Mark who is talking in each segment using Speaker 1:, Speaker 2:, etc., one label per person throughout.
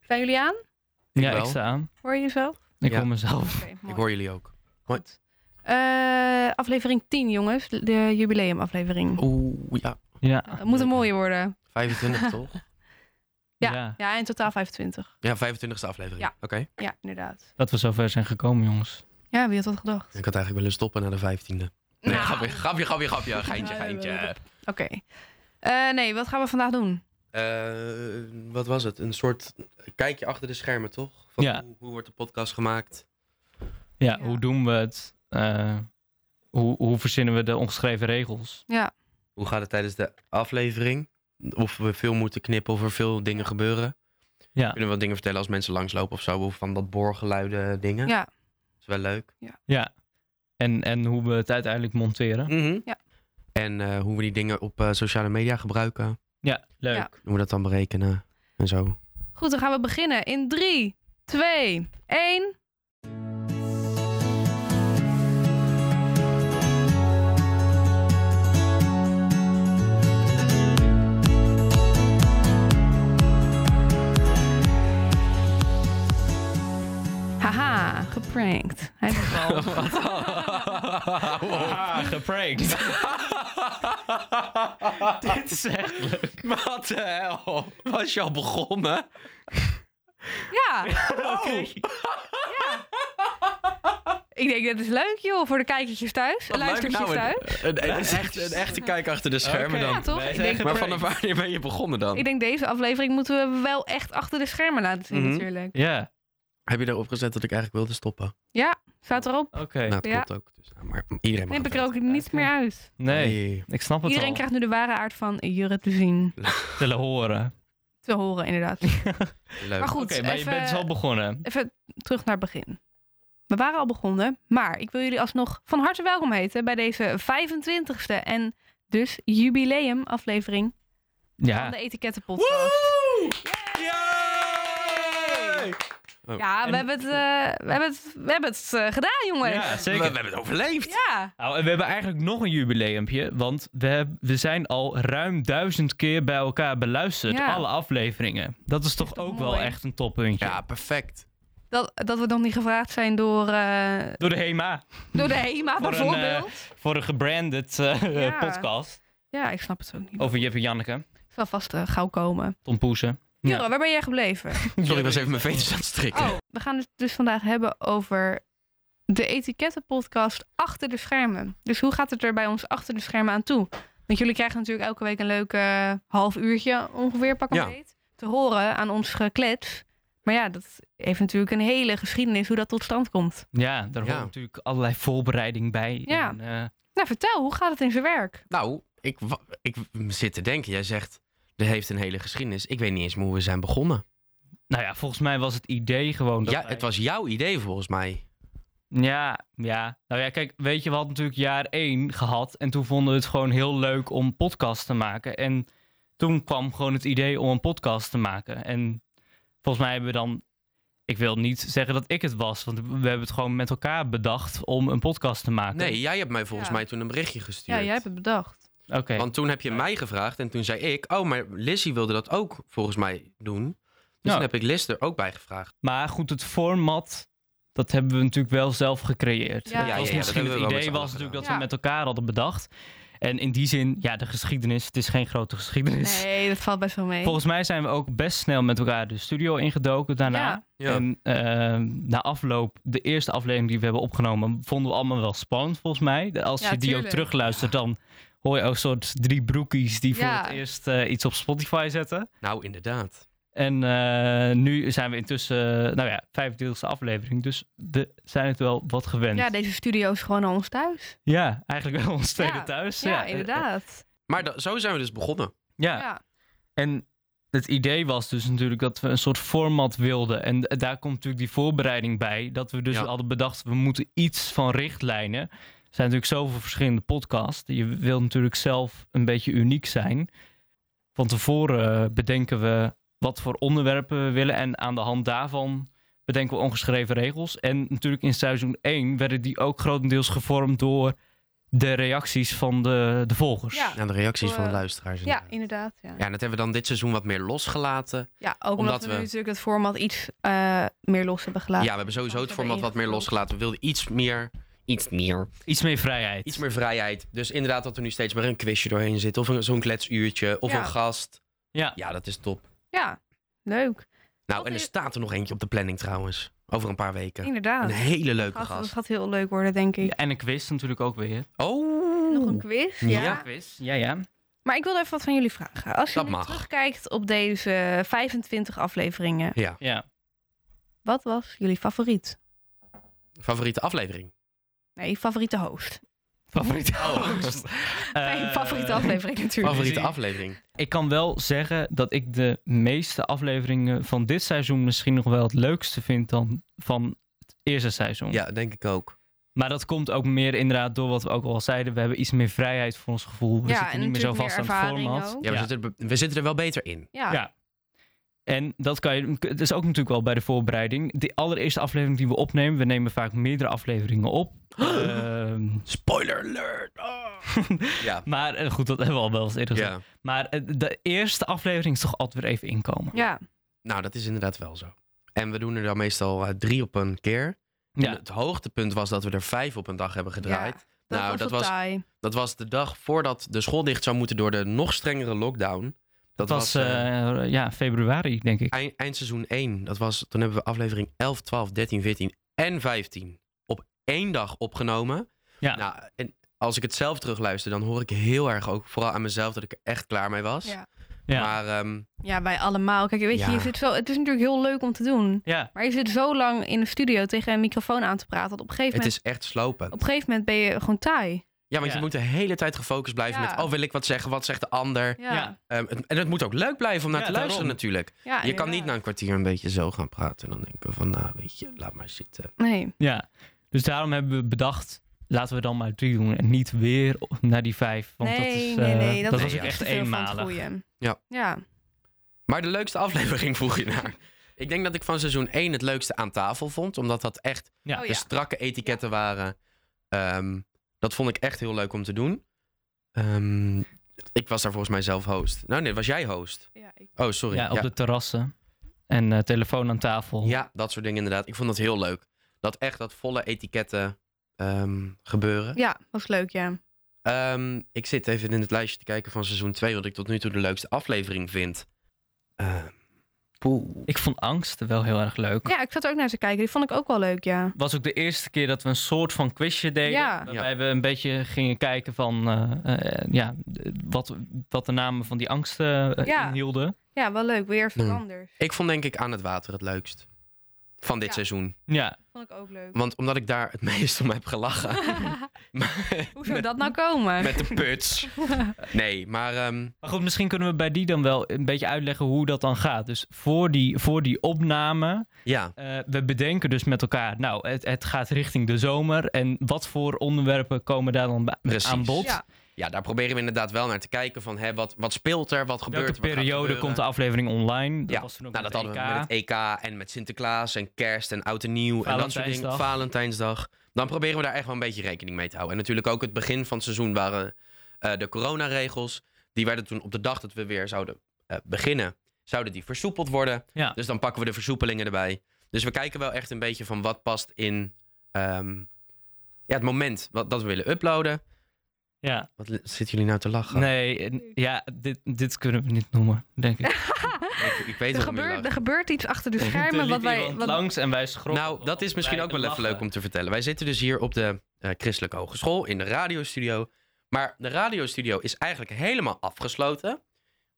Speaker 1: Zijn jullie aan?
Speaker 2: ja,
Speaker 3: wel.
Speaker 2: ik sta aan.
Speaker 1: Hoor je jezelf?
Speaker 2: Ik
Speaker 3: Ja.
Speaker 2: hoor mezelf.
Speaker 1: Oké, mooi.
Speaker 3: Ik hoor jullie ook. Mooi.
Speaker 1: Goed. Eh, aflevering 10, jongens. De jubileumaflevering.
Speaker 3: Oeh, ja.
Speaker 2: Ja.
Speaker 1: Het moet een mooie worden.
Speaker 3: 25 toch?
Speaker 1: Ja.
Speaker 2: Ja.
Speaker 1: Ja, in totaal 25.
Speaker 3: Ja, 25e aflevering.
Speaker 1: Ja.
Speaker 3: Oké.
Speaker 1: Ja, inderdaad.
Speaker 2: Dat we zover zijn gekomen, jongens.
Speaker 1: Ja, wie had dat gedacht?
Speaker 3: Ik had eigenlijk willen stoppen na de 15e. Nee,
Speaker 1: Nou.
Speaker 3: grapje, grapje, grapje, grapje. Geintje,
Speaker 1: Ja,
Speaker 3: geintje.
Speaker 1: dat Oké. Eh, nee, wat gaan we vandaag doen?
Speaker 3: Eh, wat was het? Een soort kijkje achter de schermen, toch? Van
Speaker 2: Ja.
Speaker 3: hoe, hoe wordt de podcast gemaakt?
Speaker 2: Ja,
Speaker 1: Ja.
Speaker 2: hoe doen we het? Eh, hoe, hoe verzinnen we de ongeschreven regels?
Speaker 1: Ja,
Speaker 3: Hoe gaat het tijdens de aflevering? Of we veel moeten knippen of er veel dingen gebeuren?
Speaker 2: Ja.
Speaker 3: Kunnen we wat dingen vertellen als mensen langslopen of zo? Of van dat boorgeluiden dingen?
Speaker 1: ja.
Speaker 3: Is wel leuk.
Speaker 2: Ja. En, en hoe we het uiteindelijk monteren?
Speaker 3: Mhm.
Speaker 1: Ja.
Speaker 3: En eh, hoe we die dingen op eh, sociale media gebruiken.
Speaker 2: Ja, leuk.
Speaker 1: Ja.
Speaker 3: Hoe we dat dan berekenen en zo.
Speaker 1: Goed, dan gaan we beginnen in 3, 2, 1. Haha, geprankt. Hij doet het al.
Speaker 2: Ah, geprankt. Dit is echt leuk.
Speaker 3: Wat de hel? Was je al begonnen?
Speaker 1: Ja.
Speaker 3: Oh,
Speaker 1: ja. Ik denk, dat is leuk joh, voor de kijkertjes thuis. Luistertjes
Speaker 3: nou
Speaker 1: thuis.
Speaker 3: Een, een, echte, een echte kijk achter de schermen
Speaker 2: Oké.
Speaker 3: dan.
Speaker 1: Ja, toch?
Speaker 2: Wij
Speaker 1: Ik
Speaker 2: zijn
Speaker 1: denk-
Speaker 3: Maar vanaf
Speaker 2: geprankt.
Speaker 3: wanneer ben je begonnen dan?
Speaker 1: Ik denk deze aflevering moeten we wel echt achter de schermen laten zien
Speaker 3: Mhm.
Speaker 1: natuurlijk.
Speaker 2: Ja,
Speaker 3: Heb je daarop gezet dat ik eigenlijk wilde stoppen?
Speaker 1: Staat erop.
Speaker 2: oké.
Speaker 3: Nou, dat
Speaker 1: Ja.
Speaker 3: klopt ook. Dus, nou, maar iedereen mag
Speaker 1: Knip ik
Speaker 3: het
Speaker 1: er ook niets meer uit.
Speaker 2: Nee,
Speaker 3: Nee.
Speaker 2: ik snap het
Speaker 1: Iedereen
Speaker 2: al.
Speaker 1: krijgt nu de ware aard van Jurre te zien.
Speaker 2: Willen horen.
Speaker 1: Te horen inderdaad.
Speaker 3: Leuk.
Speaker 1: Maar goed,
Speaker 2: Oké, maar je
Speaker 1: even-
Speaker 2: bent dus al begonnen.
Speaker 1: Even terug naar het begin. We waren al begonnen, maar ik wil jullie alsnog van harte welkom heten bij deze 25e en dus jubileum aflevering van
Speaker 2: Ja,
Speaker 1: de Etikettenpodcast.
Speaker 3: Woe!
Speaker 1: Yay! Ja,
Speaker 3: Yay!
Speaker 1: we
Speaker 2: Oh, En-
Speaker 1: hebben het, eh, we hebben het, we hebben het eh, gedaan, jongens.
Speaker 2: ja
Speaker 3: We, we
Speaker 2: zeker.
Speaker 3: hebben het overleefd.
Speaker 1: Ja.
Speaker 2: Nou, en we hebben eigenlijk nog een jubileumpje, want we, heb- we zijn al ruim duizend keer bij elkaar beluisterd,
Speaker 1: Ja.
Speaker 2: alle afleveringen. Dat is toch
Speaker 1: toch
Speaker 2: ook
Speaker 1: mooi?
Speaker 2: wel echt een toppuntje.
Speaker 3: Ja, perfect.
Speaker 1: Dat, dat we nog niet gevraagd zijn door, eh,
Speaker 2: Door de HEMA,
Speaker 1: door de HEMA,
Speaker 2: Voor een, eh,
Speaker 1: bijvoorbeeld.
Speaker 2: voor een gebranded eh,
Speaker 1: Ja.
Speaker 2: podcast
Speaker 1: Ja, ik snap het ook niet.
Speaker 2: over Jip en Janneke,
Speaker 1: Het zal vast eh, gauw komen.
Speaker 2: Tom Poesen. Ja.
Speaker 1: Jurre, waar ben jij gebleven?
Speaker 3: Sorry, ik was even mijn veters aan het strikken.
Speaker 1: Oh, we gaan het dus vandaag hebben over de etikettenpodcast achter de schermen. Dus hoe gaat het er bij ons achter de schermen aan toe? Want jullie krijgen natuurlijk elke week een leuke half uurtje ongeveer, pak een
Speaker 3: Ja.
Speaker 1: beet, te horen aan ons geklets. Maar ja, dat heeft natuurlijk een hele geschiedenis hoe dat tot stand komt.
Speaker 2: Ja, daar
Speaker 3: Ja.
Speaker 2: hoort natuurlijk allerlei voorbereiding bij.
Speaker 1: Ja.
Speaker 2: En, eh,
Speaker 1: Nou, vertel, hoe gaat het in zijn werk?
Speaker 3: Nou, ik, wa- ik zit te denken. Jij zegt, er heeft een hele geschiedenis. Ik weet niet eens meer hoe we zijn begonnen.
Speaker 2: nou ja, volgens mij was het idee gewoon dat
Speaker 3: Ja,
Speaker 2: wij-
Speaker 3: het was jouw idee volgens mij.
Speaker 2: Ja, ja. Nou ja, kijk, weet je, we hadden natuurlijk jaar één gehad. En toen vonden we het gewoon heel leuk om podcasts te maken. En toen kwam gewoon het idee om een podcast te maken. En volgens mij hebben we dan... Ik wil niet zeggen dat ik het was, want we hebben het gewoon met elkaar bedacht om een podcast te maken.
Speaker 3: Nee, jij hebt mij volgens
Speaker 1: Ja.
Speaker 3: mij toen een berichtje gestuurd.
Speaker 1: Ja, jij hebt het bedacht.
Speaker 2: Oké.
Speaker 3: Want toen heb je mij gevraagd en toen zei ik... Oh, maar Lizzie wilde dat ook volgens mij doen. Dus
Speaker 2: Ja.
Speaker 3: toen heb ik Liz er ook bij gevraagd.
Speaker 2: Maar goed, het format, dat hebben we natuurlijk wel zelf gecreëerd.
Speaker 1: Ja. Ja,
Speaker 2: het
Speaker 1: ja, ja,
Speaker 2: was
Speaker 1: dat
Speaker 2: misschien
Speaker 3: hebben
Speaker 2: het
Speaker 3: we wel
Speaker 2: idee
Speaker 3: met z'n
Speaker 2: was
Speaker 3: allen
Speaker 2: natuurlijk dat
Speaker 1: gedaan.
Speaker 2: we
Speaker 1: Ja.
Speaker 2: met elkaar hadden bedacht. En in die zin, ja, de geschiedenis, het is geen grote geschiedenis.
Speaker 1: Nee, dat valt best wel mee.
Speaker 2: Volgens mij zijn we ook best snel met elkaar de studio ingedoken daarna.
Speaker 1: Ja.
Speaker 2: En ehm, na afloop, de eerste aflevering die we hebben opgenomen, vonden we allemaal wel spannend volgens mij. De- Als
Speaker 1: Ja,
Speaker 2: je die ook
Speaker 1: tuurlijk.
Speaker 2: terugluistert, dan hoor je ook soort drie broekies die
Speaker 1: Ja.
Speaker 2: voor het eerst eh, iets op Spotify zetten.
Speaker 3: Nou, inderdaad.
Speaker 2: En eh, nu zijn we intussen, eh, nou ja, 25e aflevering, dus de, zijn het wel wat gewend.
Speaker 1: Ja,
Speaker 2: Ja,
Speaker 1: deze studio is gewoon aan ons thuis.
Speaker 2: eigenlijk wel ons tweede
Speaker 1: Ja.
Speaker 2: thuis.
Speaker 1: Ja, inderdaad.
Speaker 3: Maar da- zo zijn we dus begonnen.
Speaker 2: eh, Ja,
Speaker 1: Ja.
Speaker 2: En het idee was dus natuurlijk dat we een soort format wilden. En d- daar komt natuurlijk die voorbereiding bij. Dat we dus
Speaker 3: Ja.
Speaker 2: hadden bedacht, we moeten iets van richtlijnen. Er zijn natuurlijk zoveel verschillende podcasts. Je wil natuurlijk zelf een beetje uniek zijn. Van tevoren eh, bedenken we wat voor onderwerpen we willen. En aan de hand daarvan bedenken we ongeschreven regels. En natuurlijk in seizoen 1 werden die ook grotendeels gevormd door de reacties van de, de volgers.
Speaker 1: Ja.
Speaker 3: Aan de reacties van de
Speaker 1: Eh,
Speaker 3: luisteraars.
Speaker 1: Ja,
Speaker 3: inderdaad.
Speaker 1: inderdaad. Ja,
Speaker 3: ja, en dat hebben we dan dit seizoen wat meer losgelaten.
Speaker 1: Ja, ook omdat,
Speaker 3: Omdat
Speaker 1: we,
Speaker 3: we-
Speaker 1: nu natuurlijk het format iets eh, meer los hebben
Speaker 3: Ja,
Speaker 1: gelaten.
Speaker 3: we hebben sowieso het
Speaker 1: Anders hebben
Speaker 3: format wat meer
Speaker 1: ingevoerd.
Speaker 3: losgelaten. We wilden iets meer, iets meer,
Speaker 2: Iets meer vrijheid.
Speaker 3: iets meer vrijheid. Dus inderdaad dat er nu steeds maar een quizje doorheen zit. Of een- zo'n kletsuurtje, of
Speaker 1: Ja.
Speaker 3: een gast.
Speaker 2: Ja.
Speaker 3: Ja, dat is top.
Speaker 1: Ja, leuk.
Speaker 3: Nou,
Speaker 1: Wat
Speaker 3: en er
Speaker 1: is-
Speaker 3: staat er nog eentje op de planning trouwens. Over een paar weken.
Speaker 1: Inderdaad.
Speaker 3: Een hele leuke
Speaker 1: Gast, dat
Speaker 3: gast.
Speaker 1: gaat heel leuk worden, denk ik.
Speaker 2: Ja, En een quiz natuurlijk ook weer.
Speaker 3: Oh!
Speaker 1: Nog een quiz. Ja.
Speaker 3: Ja.
Speaker 2: quiz. Ja, ja.
Speaker 1: Maar ik wilde even wat van jullie vragen. Als
Speaker 3: Dat
Speaker 1: je
Speaker 3: mag.
Speaker 1: terugkijkt op deze 25 afleveringen,
Speaker 3: Ja,
Speaker 2: ja.
Speaker 1: wat was jullie favoriet?
Speaker 3: favoriete aflevering.
Speaker 1: Nee, je favoriete host.
Speaker 2: Favoriete host.
Speaker 1: Nee,
Speaker 2: Eh,
Speaker 1: Oh. favoriete aflevering natuurlijk.
Speaker 3: Favoriete
Speaker 2: Precies.
Speaker 3: aflevering.
Speaker 2: Ik kan wel zeggen dat ik de meeste afleveringen van dit seizoen misschien nog wel het leukste vind dan van het eerste seizoen.
Speaker 3: Ja, denk ik ook.
Speaker 2: Maar dat komt ook meer inderdaad door wat we ook al zeiden. We hebben iets meer vrijheid voor ons gevoel. We
Speaker 1: Ja,
Speaker 2: zitten
Speaker 1: en
Speaker 2: niet meer zo
Speaker 1: natuurlijk
Speaker 2: vast
Speaker 1: meer
Speaker 2: aan het
Speaker 1: ervaring
Speaker 2: format.
Speaker 1: ook.
Speaker 3: Ja, We, zitten er, be- we zitten er wel beter in.
Speaker 1: Ja.
Speaker 2: Ja. En dat kan je. Het is ook natuurlijk wel bij de voorbereiding. De allereerste aflevering die we opnemen, we nemen vaak meerdere afleveringen op. Ehm,
Speaker 3: Spoiler alert! Oh. ja.
Speaker 2: maar eh, goed, dat hebben we al wel eens eerder gezegd.
Speaker 3: ja,
Speaker 2: Maar eh, de eerste aflevering is toch altijd weer even inkomen.
Speaker 1: ja.
Speaker 3: nou dat is inderdaad wel zo. En we doen er dan meestal eh, drie op een keer. En
Speaker 2: Ja,
Speaker 3: het hoogtepunt was dat we er vijf op een dag hebben gedraaid.
Speaker 1: Ja, dat
Speaker 3: Nou,
Speaker 1: was
Speaker 3: dat
Speaker 1: wel
Speaker 3: was-
Speaker 1: taai.
Speaker 3: Dat was de dag voordat de school dicht zou moeten door de nog strengere lockdown.
Speaker 2: dat
Speaker 3: Dat,
Speaker 2: was
Speaker 3: eh,
Speaker 2: eh, ja, februari, denk ik.
Speaker 3: eind, eindseizoen 1. Dat was, toen hebben we aflevering 11, 12, 13, 14 en 15 op één dag opgenomen.
Speaker 2: Ja.
Speaker 3: Nou, en als ik het zelf terugluister, dan hoor ik heel erg ook, vooral aan mezelf, dat ik er echt klaar mee was.
Speaker 1: Ja.
Speaker 2: Ja.
Speaker 3: Maar ehm,
Speaker 1: ja, wij allemaal. Kijk, weet je,
Speaker 3: Ja.
Speaker 1: je zit zo, het is natuurlijk heel leuk om te doen.
Speaker 2: ja.
Speaker 1: Maar je zit zo lang in de studio tegen een microfoon aan te praten. Dat op een gegeven
Speaker 3: het
Speaker 1: moment,
Speaker 3: is echt slopen.
Speaker 1: op een gegeven moment ben je gewoon taai.
Speaker 3: Ja, want
Speaker 2: Ja.
Speaker 3: je moet de hele tijd gefocust blijven
Speaker 1: Ja.
Speaker 3: met, oh wil ik wat zeggen, wat zegt de ander?
Speaker 1: Ja,
Speaker 2: Ja.
Speaker 1: ja.
Speaker 3: Ehm, het- en het moet ook leuk blijven om naar
Speaker 2: Ja,
Speaker 3: te luisteren
Speaker 2: daarom.
Speaker 3: natuurlijk. je kan niet na een kwartier een beetje zo gaan praten en dan denken van, nou weet je, laat maar zitten.
Speaker 1: Nee.
Speaker 2: ja. Dus daarom hebben we bedacht. Laten we dan maar drie doen en niet weer naar die vijf. Want dat,
Speaker 1: nee,
Speaker 2: is,
Speaker 1: nee,
Speaker 2: eh,
Speaker 1: nee.
Speaker 2: dat,
Speaker 1: is
Speaker 2: was ook echt
Speaker 1: te veel van het
Speaker 2: eenmalig.
Speaker 1: goeie.
Speaker 3: Ja.
Speaker 1: Ja.
Speaker 3: Maar de leukste aflevering vroeg je naar. Ik denk dat ik van seizoen 1 het leukste aan tafel vond. Omdat dat echt
Speaker 2: Ja. dus
Speaker 1: Oh,
Speaker 3: de strakke etiketten waren. Ehm, dat vond ik echt heel leuk om te doen. Ehm, ik was daar volgens mij zelf host. Nou nee, was jij host.
Speaker 1: Ja, ik-
Speaker 3: Oh, sorry.
Speaker 2: Ja,
Speaker 3: Ja,
Speaker 2: op de terrassen. En eh, telefoon aan tafel.
Speaker 3: ja, dat soort dingen inderdaad. Ik vond dat heel leuk. Dat echt dat volle etiketten ehm, gebeuren.
Speaker 1: ja, was leuk, ja.
Speaker 3: Ehm, ik zit even in het lijstje te kijken van seizoen 2. Wat ik tot nu toe de leukste aflevering vind. Ehm, poeh.
Speaker 2: Ik vond angst wel heel erg leuk.
Speaker 1: Ja, ik zat er ook naar te kijken. Die vond ik ook wel leuk, ja.
Speaker 2: was ook de eerste keer dat we een soort van quizje deden.
Speaker 1: Ja.
Speaker 2: Waarbij we een beetje gingen kijken van eh, eh, ja, d- wat, wat de namen van die angsten eh,
Speaker 1: Ja.
Speaker 2: inhielden.
Speaker 1: Ja, wel leuk. Weer even
Speaker 3: Hmm.
Speaker 1: anders.
Speaker 3: Ik vond denk ik aan het water het leukst. Van dit
Speaker 1: Ja.
Speaker 3: seizoen.
Speaker 2: Ja,
Speaker 1: Vond ik ook leuk.
Speaker 3: Want omdat ik daar het meest om heb gelachen. Maar-
Speaker 1: Hoe zou
Speaker 3: met,
Speaker 1: dat nou komen?
Speaker 3: met de puts. Nee, maar ehm,
Speaker 2: maar goed, misschien kunnen we bij die dan wel een beetje uitleggen hoe dat dan gaat. Dus voor die, voor die opname,
Speaker 3: ja.
Speaker 2: eh, we bedenken dus met elkaar, nou, het, het gaat richting de zomer. En wat voor onderwerpen komen daar dan bij-
Speaker 3: Precies.
Speaker 2: aan bod?
Speaker 1: Ja,
Speaker 3: ja, daar proberen we inderdaad wel naar te kijken. Van hè, wat, wat speelt er? Wat gebeurt
Speaker 2: Welke
Speaker 3: er? wat gaat
Speaker 2: periode
Speaker 3: gebeuren?
Speaker 2: komt de aflevering online? Dat
Speaker 3: Ja,
Speaker 2: was toen ook
Speaker 3: Nou, dat
Speaker 2: met
Speaker 3: hadden
Speaker 2: EK.
Speaker 3: we met het EK en met Sinterklaas en kerst en oud en nieuw. En dat soort dingen.
Speaker 2: Valentijnsdag.
Speaker 3: Valentijnsdag. Dan proberen we daar echt wel een beetje rekening mee te houden. En natuurlijk ook het begin van het seizoen waren eh, de coronaregels. Die werden toen op de dag dat we weer zouden eh, beginnen, zouden die versoepeld worden.
Speaker 2: Ja.
Speaker 3: Dus dan pakken we de versoepelingen erbij. Dus we kijken wel echt een beetje van wat past in ehm, ja, het moment wat, dat we willen uploaden.
Speaker 2: Ja.
Speaker 3: Wat li- zitten jullie nou te lachen?
Speaker 2: Nee, en- ja, dit, dit kunnen we niet noemen, denk ik.
Speaker 3: Ik, ik weet
Speaker 1: er,
Speaker 3: waarom jullie
Speaker 1: gebeurt, er
Speaker 3: lachen.
Speaker 1: gebeurt iets achter de
Speaker 2: Er
Speaker 1: schermen.
Speaker 2: liep
Speaker 1: Wat wij,
Speaker 2: iemand
Speaker 1: wat,
Speaker 2: langs en wij schrokken.
Speaker 3: Nou, dat is misschien
Speaker 2: Wij
Speaker 3: ook wel even
Speaker 2: lachen.
Speaker 3: leuk om te vertellen. Wij zitten dus hier op de eh, Christelijke Hogeschool in de radiostudio. Maar de radiostudio is eigenlijk helemaal afgesloten.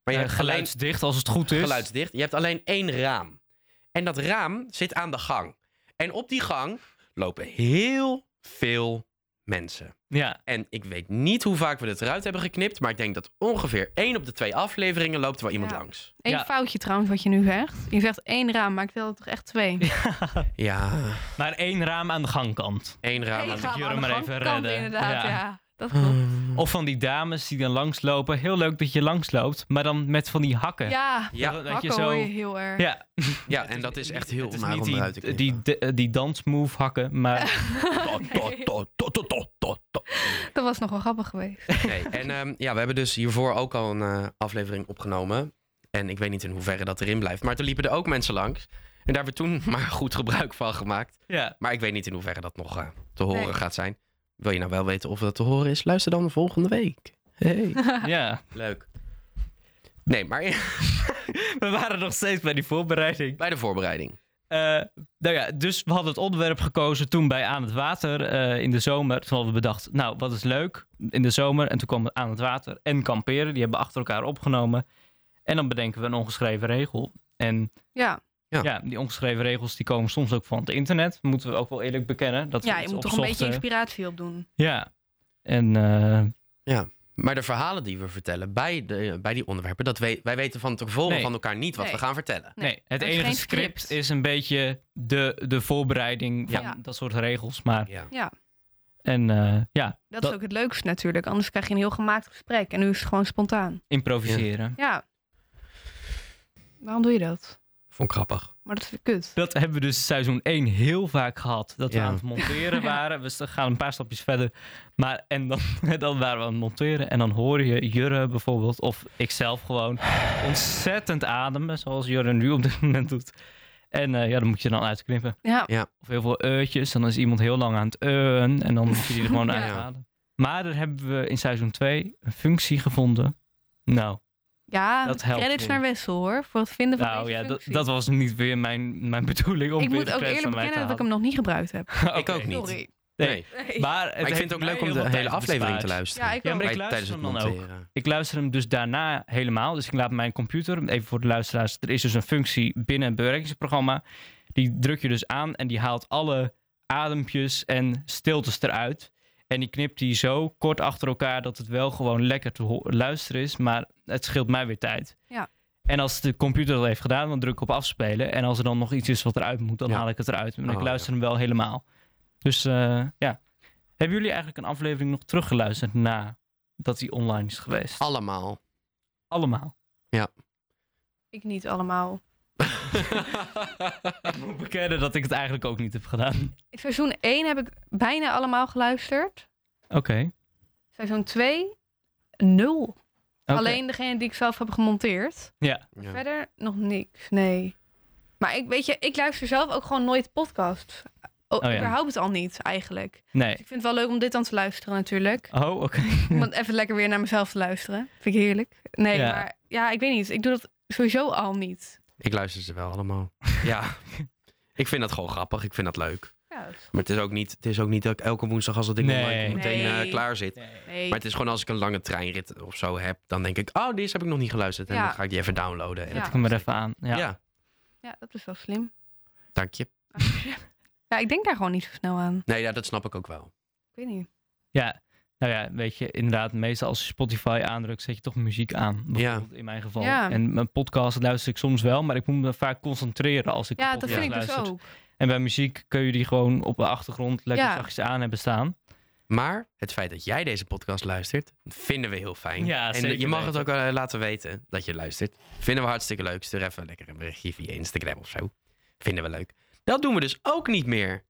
Speaker 3: Maar je
Speaker 2: Eh, dus?
Speaker 3: hebt alleen-
Speaker 2: geluidsdicht als het goed is.
Speaker 3: geluidsdicht. Je hebt alleen één raam. En dat raam zit aan de gang. En op die gang lopen heel veel mensen.
Speaker 2: Ja,
Speaker 3: En ik weet niet hoe vaak we het eruit hebben geknipt. Maar ik denk dat ongeveer één op de twee afleveringen loopt er wel iemand
Speaker 1: Ja.
Speaker 3: langs.
Speaker 1: Eén
Speaker 2: Ja.
Speaker 1: foutje trouwens wat je nu zegt. Je zegt één raam, maar ik telde toch echt twee.
Speaker 3: Ja,
Speaker 2: maar één raam aan de gangkant.
Speaker 3: één raam.
Speaker 1: Eén
Speaker 3: aan
Speaker 2: raam.
Speaker 3: de-
Speaker 1: raam
Speaker 2: Jure
Speaker 1: aan de
Speaker 2: maar even
Speaker 1: gangkant
Speaker 2: redden.
Speaker 1: inderdaad,
Speaker 2: Ja.
Speaker 1: ja. dat klopt.
Speaker 2: Of van die dames die dan langslopen. Heel leuk dat je langsloopt, maar dan met van die hakken.
Speaker 1: Ja,
Speaker 3: Ja.
Speaker 2: dat, dat
Speaker 1: hakken
Speaker 2: je zo...
Speaker 1: hoor je heel erg.
Speaker 2: Ja,
Speaker 3: Ja,
Speaker 2: Het
Speaker 3: en dat is
Speaker 2: niet-
Speaker 3: echt heel
Speaker 2: het is
Speaker 3: maar
Speaker 2: niet
Speaker 3: om
Speaker 2: die,
Speaker 3: eruit te
Speaker 2: die,
Speaker 3: knippen.
Speaker 2: die, die dansmove hakken, maar
Speaker 3: To, to, to, to, to, to, to.
Speaker 1: Dat was nog wel grappig geweest.
Speaker 3: Nee, en ehm, ja, we hebben dus hiervoor ook al een eh, aflevering opgenomen. En ik weet niet in hoeverre dat erin blijft. Maar toen liepen er ook mensen langs. En daar hebben we toen maar goed gebruik van gemaakt.
Speaker 2: ja.
Speaker 3: Maar ik weet niet in hoeverre dat nog eh, te horen
Speaker 1: Nee.
Speaker 3: gaat zijn. Wil je nou wel weten of dat te horen is? Luister dan volgende week. Hey.
Speaker 2: ja.
Speaker 3: Leuk. Nee, maar
Speaker 2: We waren nog steeds bij die voorbereiding.
Speaker 3: bij de voorbereiding.
Speaker 2: Eh, nou ja, dus we hadden het onderwerp gekozen toen bij Aan het Water eh, in de zomer. Toen hadden we bedacht, nou, wat is leuk in de zomer. En toen kwam het Aan het Water en kamperen. Die hebben we achter elkaar opgenomen. En dan bedenken we een ongeschreven regel. En
Speaker 1: Ja,
Speaker 3: Ja.
Speaker 2: ja, die ongeschreven regels die komen soms ook van het internet. Moeten we ook wel eerlijk bekennen. Dat we
Speaker 1: ja je
Speaker 2: iets
Speaker 1: moet toch een beetje
Speaker 2: opzochten.
Speaker 1: inspiratie opdoen.
Speaker 2: Ja. En eh,
Speaker 3: Maar de verhalen die we vertellen bij, de, bij die onderwerpen, dat we, wij weten van tevoren
Speaker 2: Nee.
Speaker 3: van elkaar niet wat
Speaker 1: Nee.
Speaker 3: we gaan vertellen.
Speaker 1: Nee,
Speaker 2: Nee, het
Speaker 1: er is
Speaker 2: enige
Speaker 1: geen
Speaker 2: script,
Speaker 1: script.
Speaker 2: is een beetje de, de voorbereiding van
Speaker 1: Ja.
Speaker 2: dat soort regels. Maar,
Speaker 3: Ja.
Speaker 2: en eh, ja,
Speaker 1: Dat,
Speaker 2: Dat-
Speaker 1: is ook het leukste natuurlijk. Anders krijg je een heel gemaakt gesprek. En nu is het gewoon spontaan.
Speaker 2: improviseren.
Speaker 1: Ja. Waarom doe je dat?
Speaker 3: Vond ik grappig.
Speaker 1: Maar dat is kut.
Speaker 2: Dat hebben we dus seizoen 1 heel vaak gehad. Dat
Speaker 3: Ja.
Speaker 2: we aan het monteren waren. We st- gaan een paar stapjes verder. Maar en dan, dan waren we aan het monteren. En dan hoor je Jurre bijvoorbeeld, of ikzelf gewoon, ontzettend ademen. Zoals Jurre nu op dit moment doet. En eh, ja, dan moet je dan uitknippen.
Speaker 1: Ja.
Speaker 2: Of heel veel eutjes. Dan is iemand heel lang aan het euen. En dan moet je die er gewoon
Speaker 1: Ja.
Speaker 2: uithalen. Maar daar hebben we in seizoen 2 een functie gevonden. Nou,
Speaker 1: Ja,
Speaker 2: Dat helpt
Speaker 1: credits
Speaker 2: weer.
Speaker 1: naar Wessel hoor. Voor het vinden van
Speaker 2: nou
Speaker 1: deze
Speaker 2: ja, dat,
Speaker 1: functie.
Speaker 2: dat was niet weer mijn, mijn bedoeling om
Speaker 1: Ik
Speaker 2: weer
Speaker 1: moet
Speaker 2: de
Speaker 1: ook
Speaker 2: credits
Speaker 1: eerlijk
Speaker 2: aan mij te
Speaker 1: bekennen dat ik hem
Speaker 2: halen.
Speaker 1: nog niet gebruikt heb.
Speaker 3: Ik ook
Speaker 2: Oké.
Speaker 3: niet.
Speaker 1: Sorry.
Speaker 2: Nee.
Speaker 1: Nee.
Speaker 2: Maar, het
Speaker 3: Maar ik vind
Speaker 2: heeft
Speaker 3: het ook
Speaker 2: mij
Speaker 3: leuk om
Speaker 2: heel
Speaker 3: de
Speaker 2: veel
Speaker 3: hele
Speaker 2: tijd
Speaker 3: aflevering te
Speaker 2: bespaard.
Speaker 3: luisteren.
Speaker 1: Ja, ik
Speaker 2: Ja,
Speaker 1: ook.
Speaker 2: maar ik
Speaker 3: Bij- tijdens
Speaker 2: luister
Speaker 3: het
Speaker 2: hem dan ook.
Speaker 3: monteren.
Speaker 2: Ik luister hem dus daarna helemaal. Dus ik laat mijn computer, even voor de luisteraars, er is dus een functie binnen het bewerkingsprogramma. Die druk je dus aan en die haalt alle adempjes en stiltes eruit. En die knipt die zo kort achter elkaar dat het wel gewoon lekker te ho- luisteren is. Maar het scheelt mij weer tijd.
Speaker 1: Ja.
Speaker 2: En als de computer dat heeft gedaan, dan druk ik op afspelen. En als er dan nog iets is wat eruit moet, dan
Speaker 3: Ja.
Speaker 2: haal ik het eruit. Maar
Speaker 3: Oh,
Speaker 2: ik luister hem wel helemaal. Dus eh, ja. Hebben jullie eigenlijk een aflevering nog teruggeluisterd na dat die online is geweest?
Speaker 3: Allemaal.
Speaker 2: Allemaal.
Speaker 1: Ik niet allemaal.
Speaker 2: Ik moet bekennen dat ik het eigenlijk ook niet heb gedaan.
Speaker 1: Seizoen 1 heb ik bijna allemaal geluisterd.
Speaker 2: Oké.
Speaker 1: Seizoen 2, nul.
Speaker 2: oké.
Speaker 1: Alleen degene die ik zelf heb gemonteerd.
Speaker 3: Ja.
Speaker 1: Verder nog niks, nee. Maar ik weet je, ik luister zelf ook gewoon nooit podcasts. Oh,
Speaker 2: Oh ja.
Speaker 1: Überhaupt het al niet, eigenlijk. Dus
Speaker 2: Nee.
Speaker 1: ik vind het wel leuk om dit dan te luisteren natuurlijk.
Speaker 2: Oh, oké.
Speaker 1: Om het even lekker weer naar mezelf te luisteren. Vind ik heerlijk. Nee,
Speaker 2: Ja.
Speaker 1: maar ja, ik weet niet. Ik doe dat sowieso al niet.
Speaker 3: Ik luister ze wel allemaal. Ja. Ik vind dat gewoon grappig. Ik vind dat leuk.
Speaker 1: Ja, dat is-
Speaker 3: Maar het is ook niet, het is ook niet dat ik elke woensdag als dat ik
Speaker 2: Nee.
Speaker 3: online kom, meteen eh,
Speaker 1: Nee.
Speaker 3: klaar zit.
Speaker 1: nee.
Speaker 3: Maar het is gewoon als ik een lange treinrit of zo heb, dan denk ik, oh, deze heb ik nog niet geluisterd. En
Speaker 1: Ja.
Speaker 3: dan ga ik die even downloaden. En
Speaker 1: Ja.
Speaker 2: Zet ik hem er even aan.
Speaker 3: ja.
Speaker 2: Ja.
Speaker 1: Ja, dat is wel slim.
Speaker 3: dank je.
Speaker 1: Ja, ik denk daar gewoon niet zo snel aan.
Speaker 3: Nee, ja, dat snap ik ook wel.
Speaker 1: Ik weet niet.
Speaker 2: Ja. Nou ja, weet je, inderdaad, meestal als je Spotify aandrukt, zet je toch muziek aan. Bijvoorbeeld in mijn geval.
Speaker 1: Ja.
Speaker 2: En mijn podcast luister ik soms wel, maar ik moet me vaak concentreren als ik
Speaker 1: Ja,
Speaker 2: een
Speaker 1: dat
Speaker 2: podcast
Speaker 1: vind ik dus
Speaker 2: luister.
Speaker 1: ook.
Speaker 2: En bij muziek kun je die gewoon op de achtergrond lekker
Speaker 1: Ja.
Speaker 2: zachtjes aan hebben staan.
Speaker 3: Maar het feit dat jij deze podcast luistert, vinden we heel fijn.
Speaker 2: Ja,
Speaker 3: en
Speaker 2: zeker
Speaker 3: je mag
Speaker 2: weten.
Speaker 3: het ook eh, laten weten dat je luistert. Vinden we hartstikke leuk. Stuur even lekker een berichtje via Instagram of zo. Vinden we leuk. Dat doen we dus ook niet meer.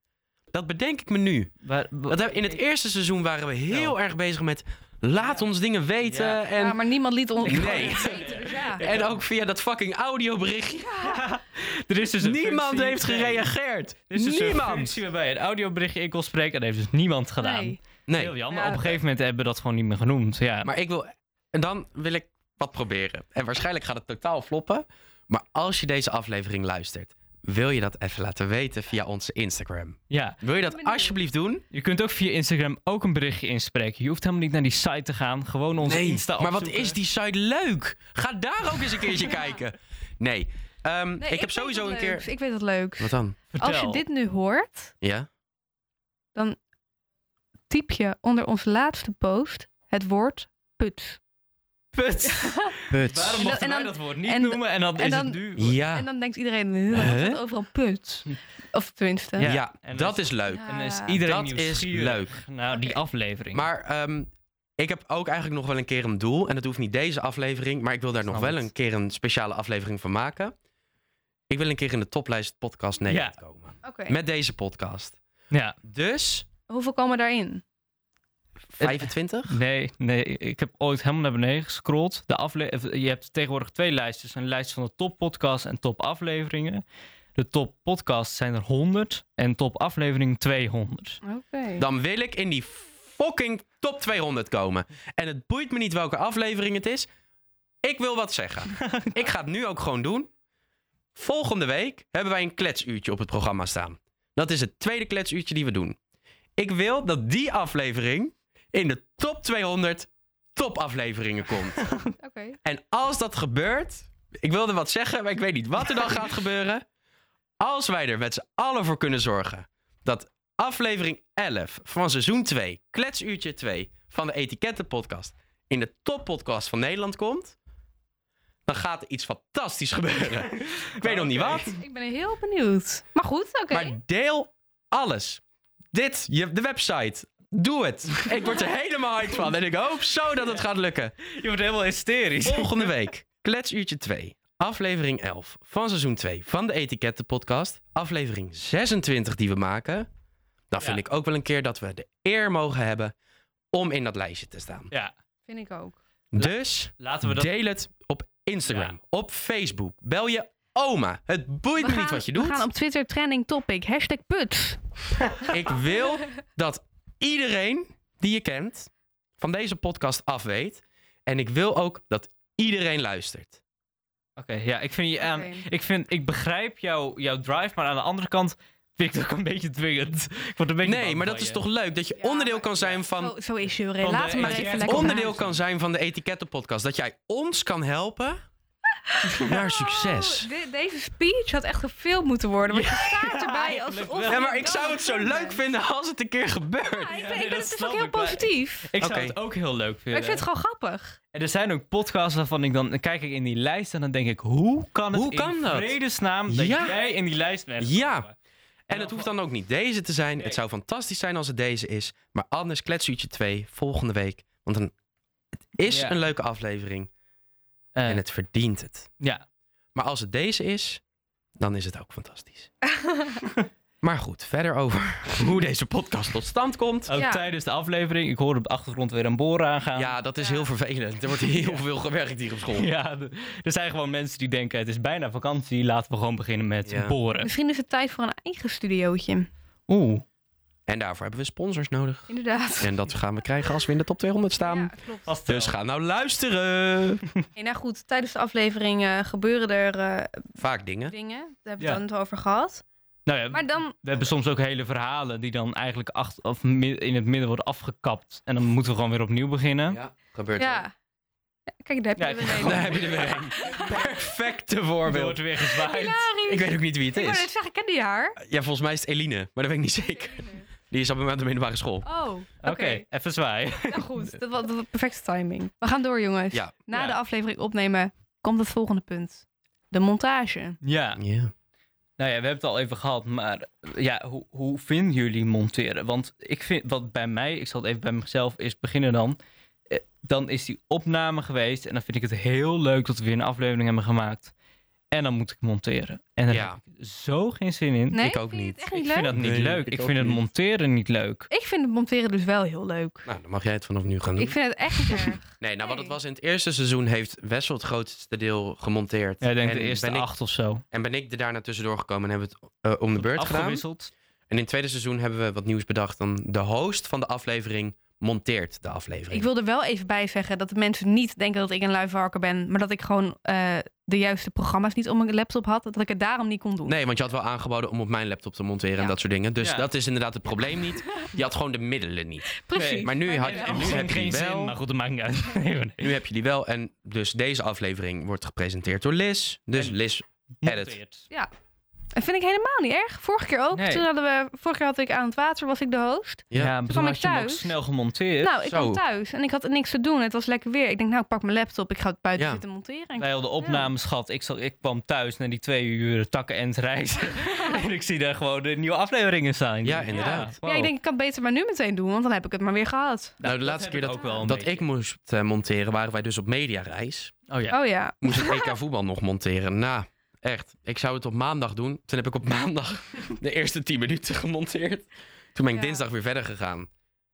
Speaker 3: Dat bedenk ik me nu.
Speaker 2: Waar- wa-
Speaker 3: Want in het eerste seizoen waren we heel erg bezig met laat
Speaker 2: Ja.
Speaker 3: ons dingen weten.
Speaker 2: Nou. Ja.
Speaker 3: En,
Speaker 1: ja, maar niemand liet ons
Speaker 3: Nee.
Speaker 1: Dus ja.
Speaker 3: en ook via dat fucking audioberichtje.
Speaker 2: Er is dus een
Speaker 3: Niemand
Speaker 2: functie-
Speaker 3: heeft
Speaker 2: Nee.
Speaker 3: gereageerd.
Speaker 2: Er is dus een
Speaker 3: Niemand.
Speaker 2: functie waarbij je een audioberichtje in kon spreken en dat heeft dus niemand gedaan.
Speaker 1: Nee.
Speaker 3: Nee,
Speaker 2: Heel jammer.
Speaker 1: Ja,
Speaker 2: op een
Speaker 1: dat-
Speaker 2: gegeven moment hebben we dat gewoon niet meer genoemd. Ja.
Speaker 3: maar ik wil... En dan wil ik wat proberen. En waarschijnlijk gaat het totaal floppen. Maar als je deze aflevering luistert, wil je dat even laten weten via onze Instagram.
Speaker 2: ja.
Speaker 3: Wil je dat
Speaker 1: benieuwd.
Speaker 3: alsjeblieft doen?
Speaker 2: Je kunt ook via Instagram ook een berichtje inspreken. Je hoeft helemaal niet naar die site te gaan. Gewoon onze Insta
Speaker 3: maar wat
Speaker 2: opzoeken.
Speaker 3: is die site leuk? Ga daar ook eens een keertje kijken. Nee, ehm,
Speaker 1: Nee,
Speaker 3: ik, heb
Speaker 1: weet
Speaker 3: sowieso
Speaker 1: wat
Speaker 3: een
Speaker 1: leuks.
Speaker 3: keer...
Speaker 1: Ik weet het leuk.
Speaker 3: Wat dan?
Speaker 2: Vertel.
Speaker 1: Als je dit nu hoort,
Speaker 3: Ja?
Speaker 1: typ je onder onze laatste post het woord put.
Speaker 2: Put. Waarom
Speaker 1: En
Speaker 2: mochten
Speaker 1: dan-
Speaker 2: wij dat woord niet
Speaker 1: en-
Speaker 2: noemen en dan
Speaker 1: en
Speaker 2: is
Speaker 1: dan-
Speaker 2: het nu...
Speaker 1: En
Speaker 3: Ja,
Speaker 1: dan denkt iedereen, "Huh, waarom
Speaker 3: Ah. Huh?
Speaker 1: staat overal put. Of tenminste.
Speaker 3: ja,
Speaker 2: en
Speaker 3: dat
Speaker 2: dan-
Speaker 3: is leuk.
Speaker 1: Ja.
Speaker 2: En dan is iedereen
Speaker 3: Dat is
Speaker 2: nieuwsgierig
Speaker 3: leuk.
Speaker 2: Nou, die
Speaker 1: Oké.
Speaker 2: aflevering.
Speaker 3: Maar ehm, Ik heb ook eigenlijk nog wel een keer een doel. En dat hoeft niet deze aflevering, maar ik wil daar nog
Speaker 2: Snap
Speaker 3: wel
Speaker 2: het.
Speaker 3: een keer een speciale aflevering van maken. Ik wil een keer in de toplijst podcast Nederland komen.
Speaker 1: Oké.
Speaker 3: Met deze podcast.
Speaker 2: Ja,
Speaker 3: Dus
Speaker 1: Hoeveel komen daarin?
Speaker 3: 25?
Speaker 2: nee, nee. Ik heb ooit helemaal naar beneden gescrolld. De afle- of, je hebt tegenwoordig twee lijstjes. Een lijst van de top podcasts en top afleveringen. De top podcasts zijn er 100 en top aflevering 200.
Speaker 1: Oké.
Speaker 3: Dan wil ik in die fucking top 200 komen. En het boeit me niet welke aflevering het is. Ik wil wat zeggen. ik ga het nu ook gewoon doen. Volgende week hebben wij een kletsuurtje op het programma staan. Dat is het tweede kletsuurtje die we doen. Ik wil dat die aflevering in de top 200 topafleveringen komt.
Speaker 1: Oké.
Speaker 3: En als dat gebeurt, ik wilde wat zeggen, maar ik weet niet wat er dan gaat gebeuren. Als wij er met z'n allen voor kunnen zorgen dat aflevering 11 van seizoen 2, kletsuurtje 2 van de Etikettenpodcast, in de toppodcast van Nederland komt, dan gaat er iets fantastisch gebeuren. ik weet nog niet
Speaker 2: Oké.
Speaker 3: wat,
Speaker 1: Ik ben heel benieuwd. Maar goed, oké.
Speaker 3: maar deel alles. Dit, je, de website. Doe het. Ik word er helemaal hyped van en ik hoop zo dat het gaat lukken.
Speaker 2: Je wordt helemaal hysterisch.
Speaker 3: Volgende week, kletsuurtje 2, aflevering 11 van seizoen 2 van de Etikettenpodcast. Aflevering 26 die we maken. Dan vind
Speaker 2: Ja.
Speaker 3: ik ook wel een keer dat we de eer mogen hebben om in dat lijstje te staan.
Speaker 2: Ja,
Speaker 1: Vind ik ook.
Speaker 3: Dus
Speaker 2: laten we dat...
Speaker 3: deel het op Instagram, op Facebook. Bel je oma. Het boeit me niet wat je
Speaker 1: we gaan
Speaker 3: doet.
Speaker 1: op Twitter trending topic. Hashtag put.
Speaker 3: Ik wil dat iedereen die je kent van deze podcast af weet. En ik wil ook dat iedereen luistert.
Speaker 2: Oké, ja, ik vind je aan...
Speaker 1: Oké.
Speaker 2: Ik, vind, ik begrijp jou, jouw drive, maar aan de andere kant vind ik het ook een beetje dwingend. Ik word een beetje
Speaker 3: Nee,
Speaker 2: bang
Speaker 3: maar
Speaker 2: van
Speaker 3: dat is
Speaker 2: je.
Speaker 3: toch leuk dat je
Speaker 1: Ja,
Speaker 3: onderdeel
Speaker 1: maar-
Speaker 3: kan zijn van
Speaker 1: zo, zo is Jure.
Speaker 2: Van
Speaker 1: Laat
Speaker 2: de
Speaker 1: hem maar
Speaker 2: etiketten-
Speaker 1: even
Speaker 3: het
Speaker 1: lekker
Speaker 3: onderdeel
Speaker 1: blazen.
Speaker 3: kan zijn van de etikettenpodcast. Dat jij ons kan helpen naar succes.
Speaker 1: Oh, de- deze speech had echt gefilmd moeten worden. Want je staat erbij als
Speaker 2: eigenlijk
Speaker 1: of-
Speaker 2: wel.
Speaker 3: Ja, maar ik zou het zo leuk vinden als het een keer
Speaker 1: Ja,
Speaker 3: gebeurt.
Speaker 1: ik,
Speaker 2: Ja,
Speaker 1: ben-
Speaker 2: nee,
Speaker 1: ik ben
Speaker 2: dat
Speaker 1: het dus
Speaker 2: snap
Speaker 1: ook heel
Speaker 2: ik, maar-
Speaker 1: positief.
Speaker 2: Ik zou
Speaker 3: Oké.
Speaker 2: het ook heel leuk
Speaker 1: Maar
Speaker 2: vinden.
Speaker 1: ik vind het gewoon grappig.
Speaker 2: En er zijn ook podcasts waarvan ik dan... dan kijk ik in die lijst en dan denk ik... Hoe kan het
Speaker 3: Hoe kan
Speaker 2: in
Speaker 3: dat?
Speaker 2: vredesnaam dat
Speaker 3: Ja.
Speaker 2: jij in die lijst bent?
Speaker 3: Ja.
Speaker 2: gekomen?
Speaker 3: En het hoeft dan ook niet deze te zijn. Het zou fantastisch zijn als het deze is. Maar anders kletsuurtje 2 volgende week. Want dan, het is
Speaker 2: Ja.
Speaker 3: een leuke aflevering
Speaker 2: Eh,
Speaker 3: en het verdient het.
Speaker 2: Ja,
Speaker 3: Maar als het deze is, dan is het ook fantastisch. maar goed, verder over hoe deze podcast tot stand komt.
Speaker 2: ook
Speaker 1: Ja.
Speaker 2: tijdens de aflevering. Ik hoor op de achtergrond weer een boor aangaan.
Speaker 3: Ja, dat is
Speaker 1: Ja.
Speaker 3: heel vervelend. Er wordt heel veel gewerkt hier op school.
Speaker 2: Ja, de- er zijn gewoon mensen die denken... Het is bijna vakantie, laten we gewoon beginnen met
Speaker 3: Ja.
Speaker 2: boren.
Speaker 1: Misschien is het tijd voor een eigen studiootje.
Speaker 2: Oeh.
Speaker 3: En daarvoor hebben we sponsors nodig.
Speaker 1: Inderdaad.
Speaker 3: En dat gaan we krijgen als we in de top 200 staan.
Speaker 1: Ja, klopt.
Speaker 2: Vast wel.
Speaker 3: Dus ga nou luisteren.
Speaker 1: Hey, nou goed, tijdens de aflevering eh, gebeuren er eh,
Speaker 3: Vaak dingen.
Speaker 1: dingen. Daar hebben we
Speaker 2: Ja.
Speaker 1: het dan net over gehad.
Speaker 2: Nou ja,
Speaker 1: Maar dan,
Speaker 2: We hebben soms ook hele verhalen die dan eigenlijk acht, of mi- in het midden worden afgekapt. En dan moeten we gewoon weer opnieuw beginnen.
Speaker 3: Ja, gebeurt
Speaker 1: ja. Ja, Kijk, daar heb je
Speaker 2: Ja,
Speaker 1: er
Speaker 2: ik-
Speaker 1: weer
Speaker 3: Daar
Speaker 1: een.
Speaker 3: heb je er weer een. Perfecte
Speaker 2: Er
Speaker 3: voorbeeld.
Speaker 2: wordt weer gezwaaid.
Speaker 1: Hilarisch.
Speaker 3: Ik weet ook niet wie het
Speaker 1: Ik wou
Speaker 3: is.
Speaker 1: net zeggen, ik ken die haar.
Speaker 3: Ja, volgens mij is het Eline, maar dat weet ik niet zeker. Die is op het moment op de middelbare school.
Speaker 1: Oh, oké.
Speaker 2: Oké, even zwaaien.
Speaker 1: Nou goed, dat was, dat was perfecte timing. We gaan door, jongens.
Speaker 3: Ja.
Speaker 1: Na
Speaker 2: Ja.
Speaker 1: de aflevering opnemen komt het volgende punt. De montage.
Speaker 2: Ja,
Speaker 3: Ja.
Speaker 2: nou ja, we hebben het al even gehad. Maar ja, hoe, hoe vinden jullie monteren? Want ik vind, wat bij mij, ik zal het even bij mezelf eerst beginnen dan. Eh, Dan is die opname geweest. En dan vind ik het heel leuk dat we weer een aflevering hebben gemaakt. En dan moet ik monteren. En daar
Speaker 3: Ja.
Speaker 2: heb ik zo geen zin in.
Speaker 1: Nee,
Speaker 3: Ik ook
Speaker 1: vind je
Speaker 3: niet.
Speaker 1: het echt
Speaker 2: Ik
Speaker 1: niet
Speaker 2: vind
Speaker 1: leuk?
Speaker 2: dat niet
Speaker 3: Nee,
Speaker 2: leuk.
Speaker 3: ik
Speaker 2: Ik
Speaker 3: ook
Speaker 2: vind het
Speaker 3: niet.
Speaker 2: monteren niet leuk.
Speaker 1: Ik vind het monteren dus wel heel leuk.
Speaker 3: Nou, dan mag jij het vanaf nu gaan doen.
Speaker 1: Ik vind het echt niet erg.
Speaker 3: Nee, nou wat het
Speaker 1: Nee.
Speaker 3: was in het eerste seizoen heeft Wessel het grootste deel gemonteerd.
Speaker 2: Ja, ik denk
Speaker 3: en
Speaker 2: de eerste
Speaker 3: ben ik,
Speaker 2: acht of zo.
Speaker 3: En ben ik er daarna tussendoor gekomen en hebben we het eh, om de beurt gedaan.
Speaker 2: Afgewisseld.
Speaker 3: En in het tweede seizoen hebben we wat nieuws bedacht. Dan de host van de aflevering monteert de aflevering.
Speaker 1: Ik wil er wel even bij zeggen dat de mensen niet denken dat ik een luivarker ben, maar dat ik gewoon eh, de juiste programma's niet op mijn laptop had, dat ik het daarom niet kon doen.
Speaker 3: Nee, want je had wel aangeboden om op mijn laptop te monteren en
Speaker 1: Ja.
Speaker 3: dat soort dingen. Dus
Speaker 2: Ja.
Speaker 3: dat is inderdaad het probleem niet. Je had gewoon de middelen niet.
Speaker 1: Precies.
Speaker 2: Nee,
Speaker 3: Maar nu, had,
Speaker 1: wel.
Speaker 3: en nu, heb, je die wel,
Speaker 2: maar goed, dat maakt niet uit. Nee, maar nee.
Speaker 3: nu heb je die wel. En dus deze aflevering wordt gepresenteerd door Liz. Dus
Speaker 2: En-
Speaker 3: Liz, Edit.
Speaker 2: Monteert.
Speaker 1: Ja. Dat vind ik helemaal niet erg. Vorige keer ook.
Speaker 2: Nee.
Speaker 1: Toen hadden we, vorige keer had ik aan het water, was ik de host.
Speaker 3: Ja.
Speaker 2: Ja, maar toen
Speaker 1: kwam ik
Speaker 2: had je hem ook
Speaker 1: thuis.
Speaker 2: snel gemonteerd.
Speaker 1: nou, ik
Speaker 3: zo.
Speaker 1: kwam thuis en ik had niks te doen. Het was lekker weer. Ik denk, nou, ik pak mijn laptop. Ik ga het buiten
Speaker 3: Ja.
Speaker 1: zitten monteren. En
Speaker 2: Wij hadden opnames gehad. Ik, zat, ik kwam thuis na die twee uur takken en reizen. en ik zie daar gewoon de nieuwe afleveringen staan.
Speaker 3: Ja, inderdaad.
Speaker 1: Ja, ik denk, ik kan het beter maar nu meteen doen, want dan heb ik het maar weer gehad.
Speaker 3: Nou, de laatste keer dat,
Speaker 2: ook wel een
Speaker 3: dat
Speaker 2: beetje.
Speaker 3: ik moest eh, monteren, waren wij dus op mediareis.
Speaker 2: Oh ja.
Speaker 1: Oh ja.
Speaker 3: Moest ik EK voetbal nog monteren. Nou, echt. Ik zou het op maandag doen. Toen heb ik op maandag de eerste 10 minuten gemonteerd. Toen ben ik
Speaker 1: Ja.
Speaker 3: dinsdag weer verder gegaan.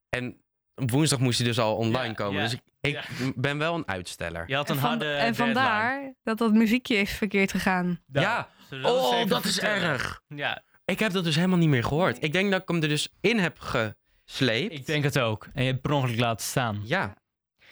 Speaker 3: En woensdag moest hij dus al online
Speaker 2: Ja,
Speaker 3: komen.
Speaker 2: ja,
Speaker 3: Dus ik, ik
Speaker 2: ja.
Speaker 3: ben wel een uitsteller.
Speaker 2: Je had een
Speaker 1: en van-
Speaker 2: harde
Speaker 1: en
Speaker 2: deadline.
Speaker 1: vandaar dat dat muziekje is verkeerd gegaan.
Speaker 2: Nou,
Speaker 3: Ja.
Speaker 2: zullen we eens
Speaker 3: oh,
Speaker 2: even
Speaker 3: dat is
Speaker 2: vertellen?
Speaker 3: erg.
Speaker 2: Ja,
Speaker 3: Ik heb dat dus helemaal niet meer gehoord. Ik denk dat ik hem er dus in heb gesleept.
Speaker 2: ik denk het ook. En je hebt het per ongeluk laten staan.
Speaker 3: Ja.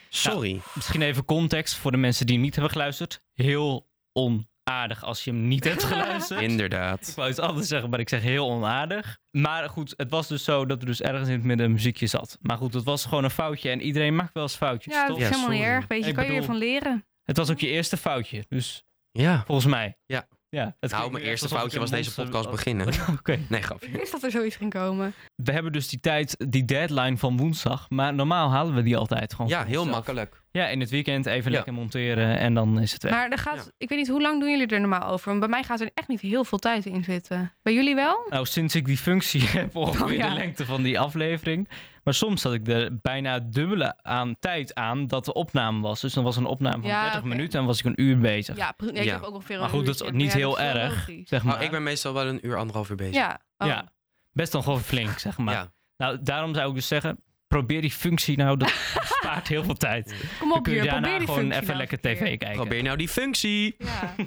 Speaker 3: Sorry.
Speaker 2: Misschien even context voor de mensen die niet hebben geluisterd. Heel onaardig als je hem niet hebt geluisterd.
Speaker 3: Inderdaad.
Speaker 2: Ik wou iets anders zeggen, maar ik zeg heel onaardig. Maar goed, het was dus zo dat er dus ergens in het midden een muziekje zat. Maar goed, dat was gewoon een foutje. En iedereen maakt wel eens foutjes,
Speaker 1: Ja, dat
Speaker 2: toch?
Speaker 1: is
Speaker 3: Ja,
Speaker 1: helemaal niet
Speaker 3: sorry.
Speaker 1: erg. Weet je,
Speaker 2: Ik
Speaker 1: kan je weer
Speaker 2: bedoel-
Speaker 1: van leren.
Speaker 2: Het was ook je eerste foutje, dus
Speaker 3: Ja.
Speaker 2: volgens mij.
Speaker 3: Ja.
Speaker 2: ja het
Speaker 3: Nou,
Speaker 2: klinkt
Speaker 3: mijn
Speaker 2: nu
Speaker 3: eerste
Speaker 2: echt alsof
Speaker 3: foutje
Speaker 2: ik
Speaker 3: was
Speaker 2: een
Speaker 3: deze
Speaker 2: monster-
Speaker 3: podcast beginnen.
Speaker 2: Oké.
Speaker 3: Nee, grapje.
Speaker 1: Ik wist dat er zoiets ging komen.
Speaker 2: We hebben dus die tijd, die deadline van woensdag. Maar normaal halen we die altijd gewoon.
Speaker 3: Ja,
Speaker 2: voor
Speaker 3: heel
Speaker 2: onszelf.
Speaker 3: makkelijk.
Speaker 2: Ja, in het weekend even
Speaker 3: Ja.
Speaker 2: lekker monteren en dan is het weg.
Speaker 1: Maar er gaat, ik weet niet, hoe lang doen jullie er normaal over? Want bij mij gaat er echt niet heel veel tijd in zitten. Bij jullie wel?
Speaker 2: Nou, sinds ik die functie heb, ongeveer
Speaker 1: Oh, ja.
Speaker 2: de lengte van die aflevering. Maar soms zat ik er bijna het dubbele aan tijd aan dat de opname was. Dus dan was een opname van
Speaker 1: Ja,
Speaker 2: 30
Speaker 1: oké.
Speaker 2: minuten en was ik een uur bezig.
Speaker 1: Ja, pre- nee, ik
Speaker 3: Ja.
Speaker 1: heb ook ongeveer
Speaker 2: Maar
Speaker 1: een
Speaker 2: goed, dat is
Speaker 1: uurtje.
Speaker 2: niet
Speaker 1: Maar ja,
Speaker 2: heel
Speaker 1: is wel
Speaker 2: erg.
Speaker 1: logisch.
Speaker 2: Zeg maar.
Speaker 3: Oh, ik ben meestal wel een uur, anderhalf uur bezig.
Speaker 1: Ja. oh.
Speaker 2: Ja. Best dan gewoon flink, zeg maar.
Speaker 3: Ja.
Speaker 2: Nou, daarom zou ik dus zeggen, probeer die functie nou, dat spaart heel veel tijd.
Speaker 1: Kom
Speaker 2: Dan
Speaker 1: op
Speaker 2: kun je
Speaker 1: hier,
Speaker 2: daarna
Speaker 1: probeer die
Speaker 2: gewoon
Speaker 1: functie
Speaker 2: even
Speaker 1: nou
Speaker 2: lekker
Speaker 1: eens een
Speaker 2: tv
Speaker 1: keer.
Speaker 2: kijken.
Speaker 3: Probeer nou die functie.
Speaker 1: Ja.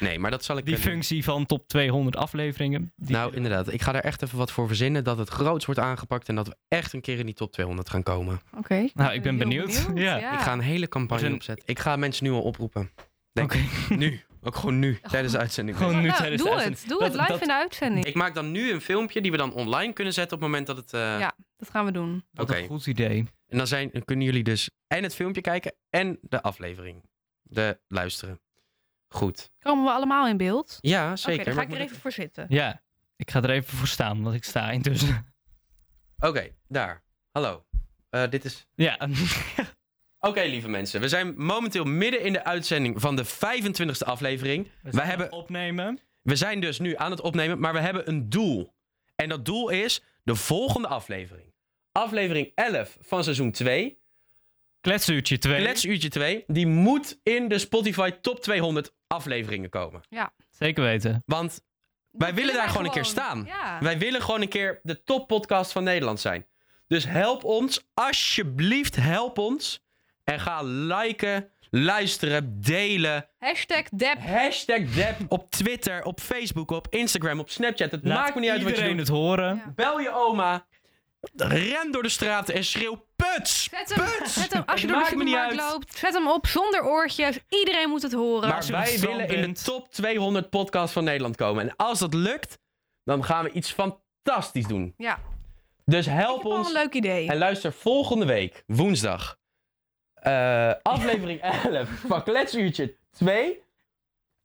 Speaker 3: Nee, maar dat zal ik
Speaker 2: Die
Speaker 3: kunnen.
Speaker 2: functie van top 200 afleveringen. die-
Speaker 3: Nou, inderdaad. Ik ga daar echt even wat voor verzinnen. Dat het groots wordt aangepakt. En dat we echt een keer in die top 200 gaan komen.
Speaker 1: Oké.
Speaker 2: Nou, ik ben
Speaker 1: Heel
Speaker 2: benieuwd. Ja.
Speaker 1: Ah.
Speaker 3: Ik ga een hele campagne
Speaker 2: Wordt een-
Speaker 3: opzetten. Ik ga mensen nu al oproepen. Denk
Speaker 2: Oké.
Speaker 3: Nu. Ook gewoon nu. Tijdens de uitzending.
Speaker 2: Gewoon nu
Speaker 1: Nou,
Speaker 2: tijdens de
Speaker 1: doe
Speaker 2: uitzending.
Speaker 1: het. Doe
Speaker 2: Dat-
Speaker 1: het live
Speaker 2: dat-
Speaker 1: in de uitzending.
Speaker 3: Ik maak dan nu een filmpje die we dan online kunnen zetten op het moment dat het... eh,
Speaker 1: Ja. Dat gaan we doen.
Speaker 2: Wat
Speaker 3: Oké.
Speaker 2: een goed idee.
Speaker 3: En dan, zijn, dan kunnen jullie dus en het filmpje kijken en de aflevering. De luisteren. Goed.
Speaker 1: Komen we allemaal in beeld?
Speaker 3: Ja,
Speaker 1: Oké, dan
Speaker 3: zeker.
Speaker 1: ga
Speaker 3: Maar
Speaker 1: ik
Speaker 3: moet
Speaker 1: er even voor zitten.
Speaker 2: Ja, ik ga er even voor staan, want ik sta intussen.
Speaker 3: Oké, daar. Hallo. Eh, dit is...
Speaker 2: Ja,
Speaker 3: Oké, lieve mensen. We zijn momenteel midden in de uitzending van de 25e aflevering.
Speaker 2: We
Speaker 3: hebben-
Speaker 2: opnemen.
Speaker 3: We zijn dus nu aan het opnemen, maar we hebben een doel. En dat doel is de volgende aflevering. Aflevering 11 van seizoen 2.
Speaker 2: Kletsuurtje 2.
Speaker 3: Kletsuurtje 2. Die moet in de Spotify top 200 afleveringen komen.
Speaker 2: Zeker weten.
Speaker 3: Want wij willen daar gewoon een keer staan.
Speaker 1: Ja.
Speaker 3: Wij willen gewoon een keer de toppodcast van Nederland zijn. Dus help ons, alsjeblieft help ons. En ga liken, luisteren, delen.
Speaker 1: Hashtag Deb.
Speaker 3: Hashtag Deb op Twitter, op Facebook, op Instagram, op Snapchat. Het maakt me niet uit wat je
Speaker 2: iedereen
Speaker 3: doet.
Speaker 2: het horen.
Speaker 1: Ja.
Speaker 3: Bel je oma. Ren door de straten en schreeuw puts!
Speaker 1: Zet hem, zet hem, als je door de
Speaker 3: Maakt me niet
Speaker 1: supermarkt
Speaker 3: uit.
Speaker 1: loopt, zet hem op zonder oortjes. Iedereen moet het horen.
Speaker 3: Maar
Speaker 2: Als je op
Speaker 3: wij
Speaker 2: het strand
Speaker 3: willen in de
Speaker 2: bent.
Speaker 3: top 200 podcast van Nederland komen. En als dat lukt, dan gaan we iets fantastisch doen.
Speaker 1: Ja,
Speaker 3: Dus
Speaker 1: ik
Speaker 3: help
Speaker 1: heb al
Speaker 3: ons.
Speaker 1: een leuk idee.
Speaker 3: En luister volgende week, woensdag, eh, aflevering 11 van Kletsuurtje 2.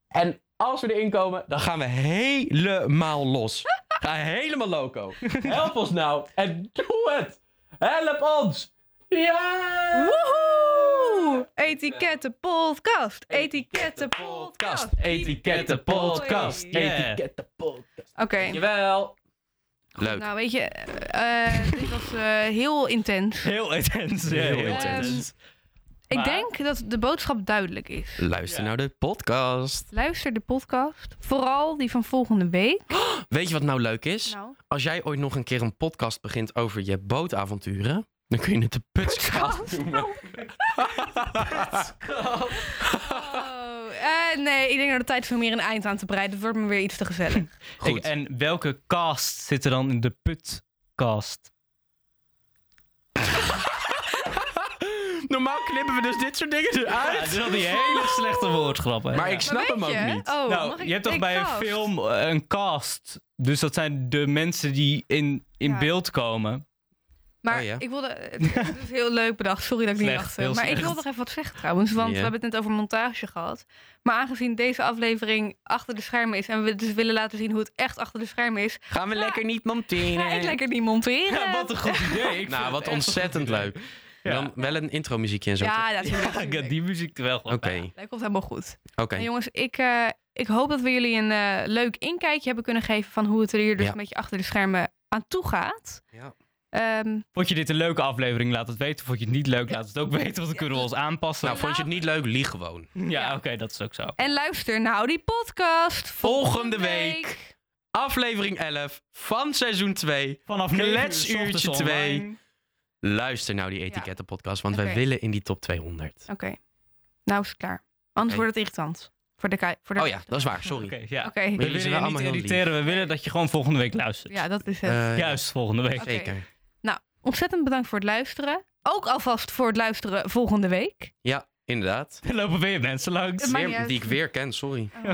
Speaker 3: En als we erin komen, dan gaan we helemaal los. Ga helemaal loco. Help ons nou en doe het! Help ons! Ja!
Speaker 1: Woehoe! Etiketten podcast. Etiketten podcast.
Speaker 3: Etiketten podcast.
Speaker 2: Yeah.
Speaker 3: Etiketten podcast.
Speaker 1: Oké.
Speaker 3: Dankjewel. Leuk.
Speaker 1: Nou, weet je, eh, eh, dit was eh, heel intens.
Speaker 2: Heel intens. ja,
Speaker 3: Heel
Speaker 2: heel
Speaker 3: intens.
Speaker 2: intens.
Speaker 1: Ik
Speaker 2: Maar-
Speaker 1: denk dat de boodschap duidelijk is.
Speaker 3: Luister
Speaker 2: Ja.
Speaker 3: naar de podcast.
Speaker 1: Luister de podcast, vooral die van volgende week.
Speaker 3: Weet je wat nou leuk is?
Speaker 1: Nou,
Speaker 3: Als jij ooit nog een keer een podcast begint over je bootavonturen, dan kun je het de putscast noemen.
Speaker 1: oh, eh, nee, ik denk dat de tijd veel meer een eind aan te breiden. Het wordt me weer iets te gezellig.
Speaker 3: Goed.
Speaker 2: Ik- en welke cast zit er dan in de putcast?
Speaker 3: Normaal knippen we dus dit soort
Speaker 2: Ja,
Speaker 3: dingen eruit.
Speaker 2: dat is al die hele slechte woordgrappen.
Speaker 3: Maar
Speaker 2: Ja.
Speaker 3: ik snap
Speaker 1: Maar
Speaker 3: hem
Speaker 1: weet
Speaker 3: ook
Speaker 1: je-
Speaker 3: niet.
Speaker 1: Oh, mag
Speaker 2: nou,
Speaker 1: ik-
Speaker 2: je hebt toch
Speaker 1: ik
Speaker 2: bij
Speaker 1: cast?
Speaker 2: een film eh, een cast. Dus dat zijn de mensen die in, in
Speaker 1: Ja.
Speaker 2: beeld komen.
Speaker 1: Maar
Speaker 3: Oh ja.
Speaker 1: ik wilde... eh, Het, het is dus heel leuk bedacht. Sorry dat ik
Speaker 2: Slecht,
Speaker 1: niet achter.
Speaker 2: heel
Speaker 1: Maar ik
Speaker 2: slecht.
Speaker 1: wilde nog even wat zeggen trouwens. Want
Speaker 3: Ja.
Speaker 1: we hebben het net over montage gehad. Maar aangezien deze aflevering achter de schermen is... en we dus willen laten zien hoe het echt achter de schermen is...
Speaker 3: Gaan we lekker niet monteren.
Speaker 1: ga ik lekker niet monteren.
Speaker 2: Ja, wat een goed idee. Ik
Speaker 3: Nou,
Speaker 2: vind
Speaker 3: wat
Speaker 2: het echt
Speaker 3: ontzettend
Speaker 2: een goed idee.
Speaker 3: leuk.
Speaker 2: Ja.
Speaker 3: Dan wel een intro muziekje en zo. toch?
Speaker 1: Ja, dat is
Speaker 2: Ja,
Speaker 1: natuurlijk.
Speaker 2: ik had die muziek er wel gewoon
Speaker 3: Oké, Nou,
Speaker 2: bij.
Speaker 3: oké.
Speaker 1: Dat komt helemaal goed. En jongens, ik, eh, ik hoop dat we jullie een eh, leuk inkijkje hebben kunnen geven... van hoe het er hier dus
Speaker 3: Ja.
Speaker 1: een beetje achter de schermen aan toe gaat.
Speaker 3: Ja.
Speaker 1: Ehm,
Speaker 2: Vond je dit een leuke aflevering? Laat het weten. Vond je het niet leuk? Laat het ook weten, want dan kunnen we ons aanpassen.
Speaker 3: Nou, vond je het niet leuk? Lieg gewoon.
Speaker 2: ja,
Speaker 1: ja.
Speaker 2: oké, dat is ook zo.
Speaker 1: en luister nou die podcast
Speaker 3: Volgende week. Aflevering 11 van seizoen 2.
Speaker 2: Vanaf
Speaker 3: Kletsuurtje
Speaker 2: 9 uur 's ochtends
Speaker 3: twee.
Speaker 2: online.
Speaker 3: Luister nou die etikettenpodcast, want wij
Speaker 1: Oké.
Speaker 3: willen in die top 200.
Speaker 1: Oké, nou is het klaar. Anders
Speaker 3: Oké.
Speaker 1: wordt het irritant. Voor de kei- voor de
Speaker 3: Oh ja, dat is waar. Sorry.
Speaker 2: Oké, ja.
Speaker 1: Oké,
Speaker 2: We
Speaker 3: Jullie zijn
Speaker 2: willen
Speaker 3: wel
Speaker 2: je niet
Speaker 3: allemaal heel lief.
Speaker 2: irriteren. We willen dat je gewoon volgende week luistert.
Speaker 1: ja, dat is het.
Speaker 3: Eh,
Speaker 2: Juist volgende week.
Speaker 1: Oké.
Speaker 3: Zeker.
Speaker 1: Ontzettend bedankt voor het luisteren. Ook alvast voor het luisteren volgende week.
Speaker 3: Ja, inderdaad.
Speaker 2: Er lopen weer mensen langs.
Speaker 1: Het maakt niet
Speaker 3: Weer,
Speaker 1: uit.
Speaker 3: die ik weer ken, sorry.
Speaker 2: Oké,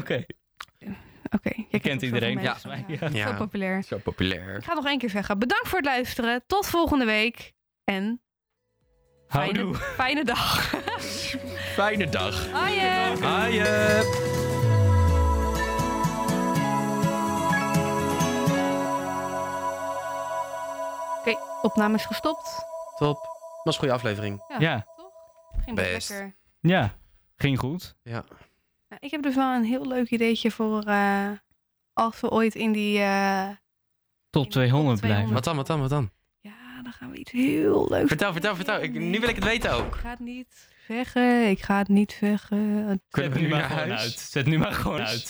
Speaker 1: Oké, jij
Speaker 2: je
Speaker 1: kent ook
Speaker 2: kent
Speaker 1: zoveel
Speaker 2: iedereen
Speaker 1: mensen.
Speaker 2: volgens mij.
Speaker 1: Ja,
Speaker 2: Ja.
Speaker 1: Zo
Speaker 3: Ja.
Speaker 1: populair.
Speaker 3: Zo populair.
Speaker 1: Ik ga het nog één keer zeggen. Bedankt voor het luisteren. Tot volgende week. En fijne,
Speaker 2: Houdoe.
Speaker 1: fijne dag.
Speaker 3: Fijne dag.
Speaker 1: Hoi.
Speaker 3: Haaien.
Speaker 1: Oké, opname is gestopt.
Speaker 3: Top. Was een goede aflevering.
Speaker 2: Ja,
Speaker 1: Toch? Ging best
Speaker 3: Best.
Speaker 1: lekker.
Speaker 2: ja. Ging goed.
Speaker 3: Ja.
Speaker 1: Nou, ik heb dus wel een heel leuk ideetje voor eh, als we ooit in die... eh,
Speaker 2: Top 200 blijven.
Speaker 3: Wat dan, wat dan, wat dan?
Speaker 1: Ja, dan gaan we iets heel leuks
Speaker 3: Vertel,
Speaker 1: doen.
Speaker 3: vertel, vertel. Ik,
Speaker 1: Nee,
Speaker 3: nu wil ik het weten ook.
Speaker 1: Ik ga het niet zeggen. Ik ga het niet zeggen.
Speaker 2: Zet
Speaker 3: Kunnen we
Speaker 2: nu
Speaker 3: nu
Speaker 2: maar
Speaker 3: naar
Speaker 2: gewoon
Speaker 3: huis?
Speaker 2: uit. Zet nu maar gewoon uit.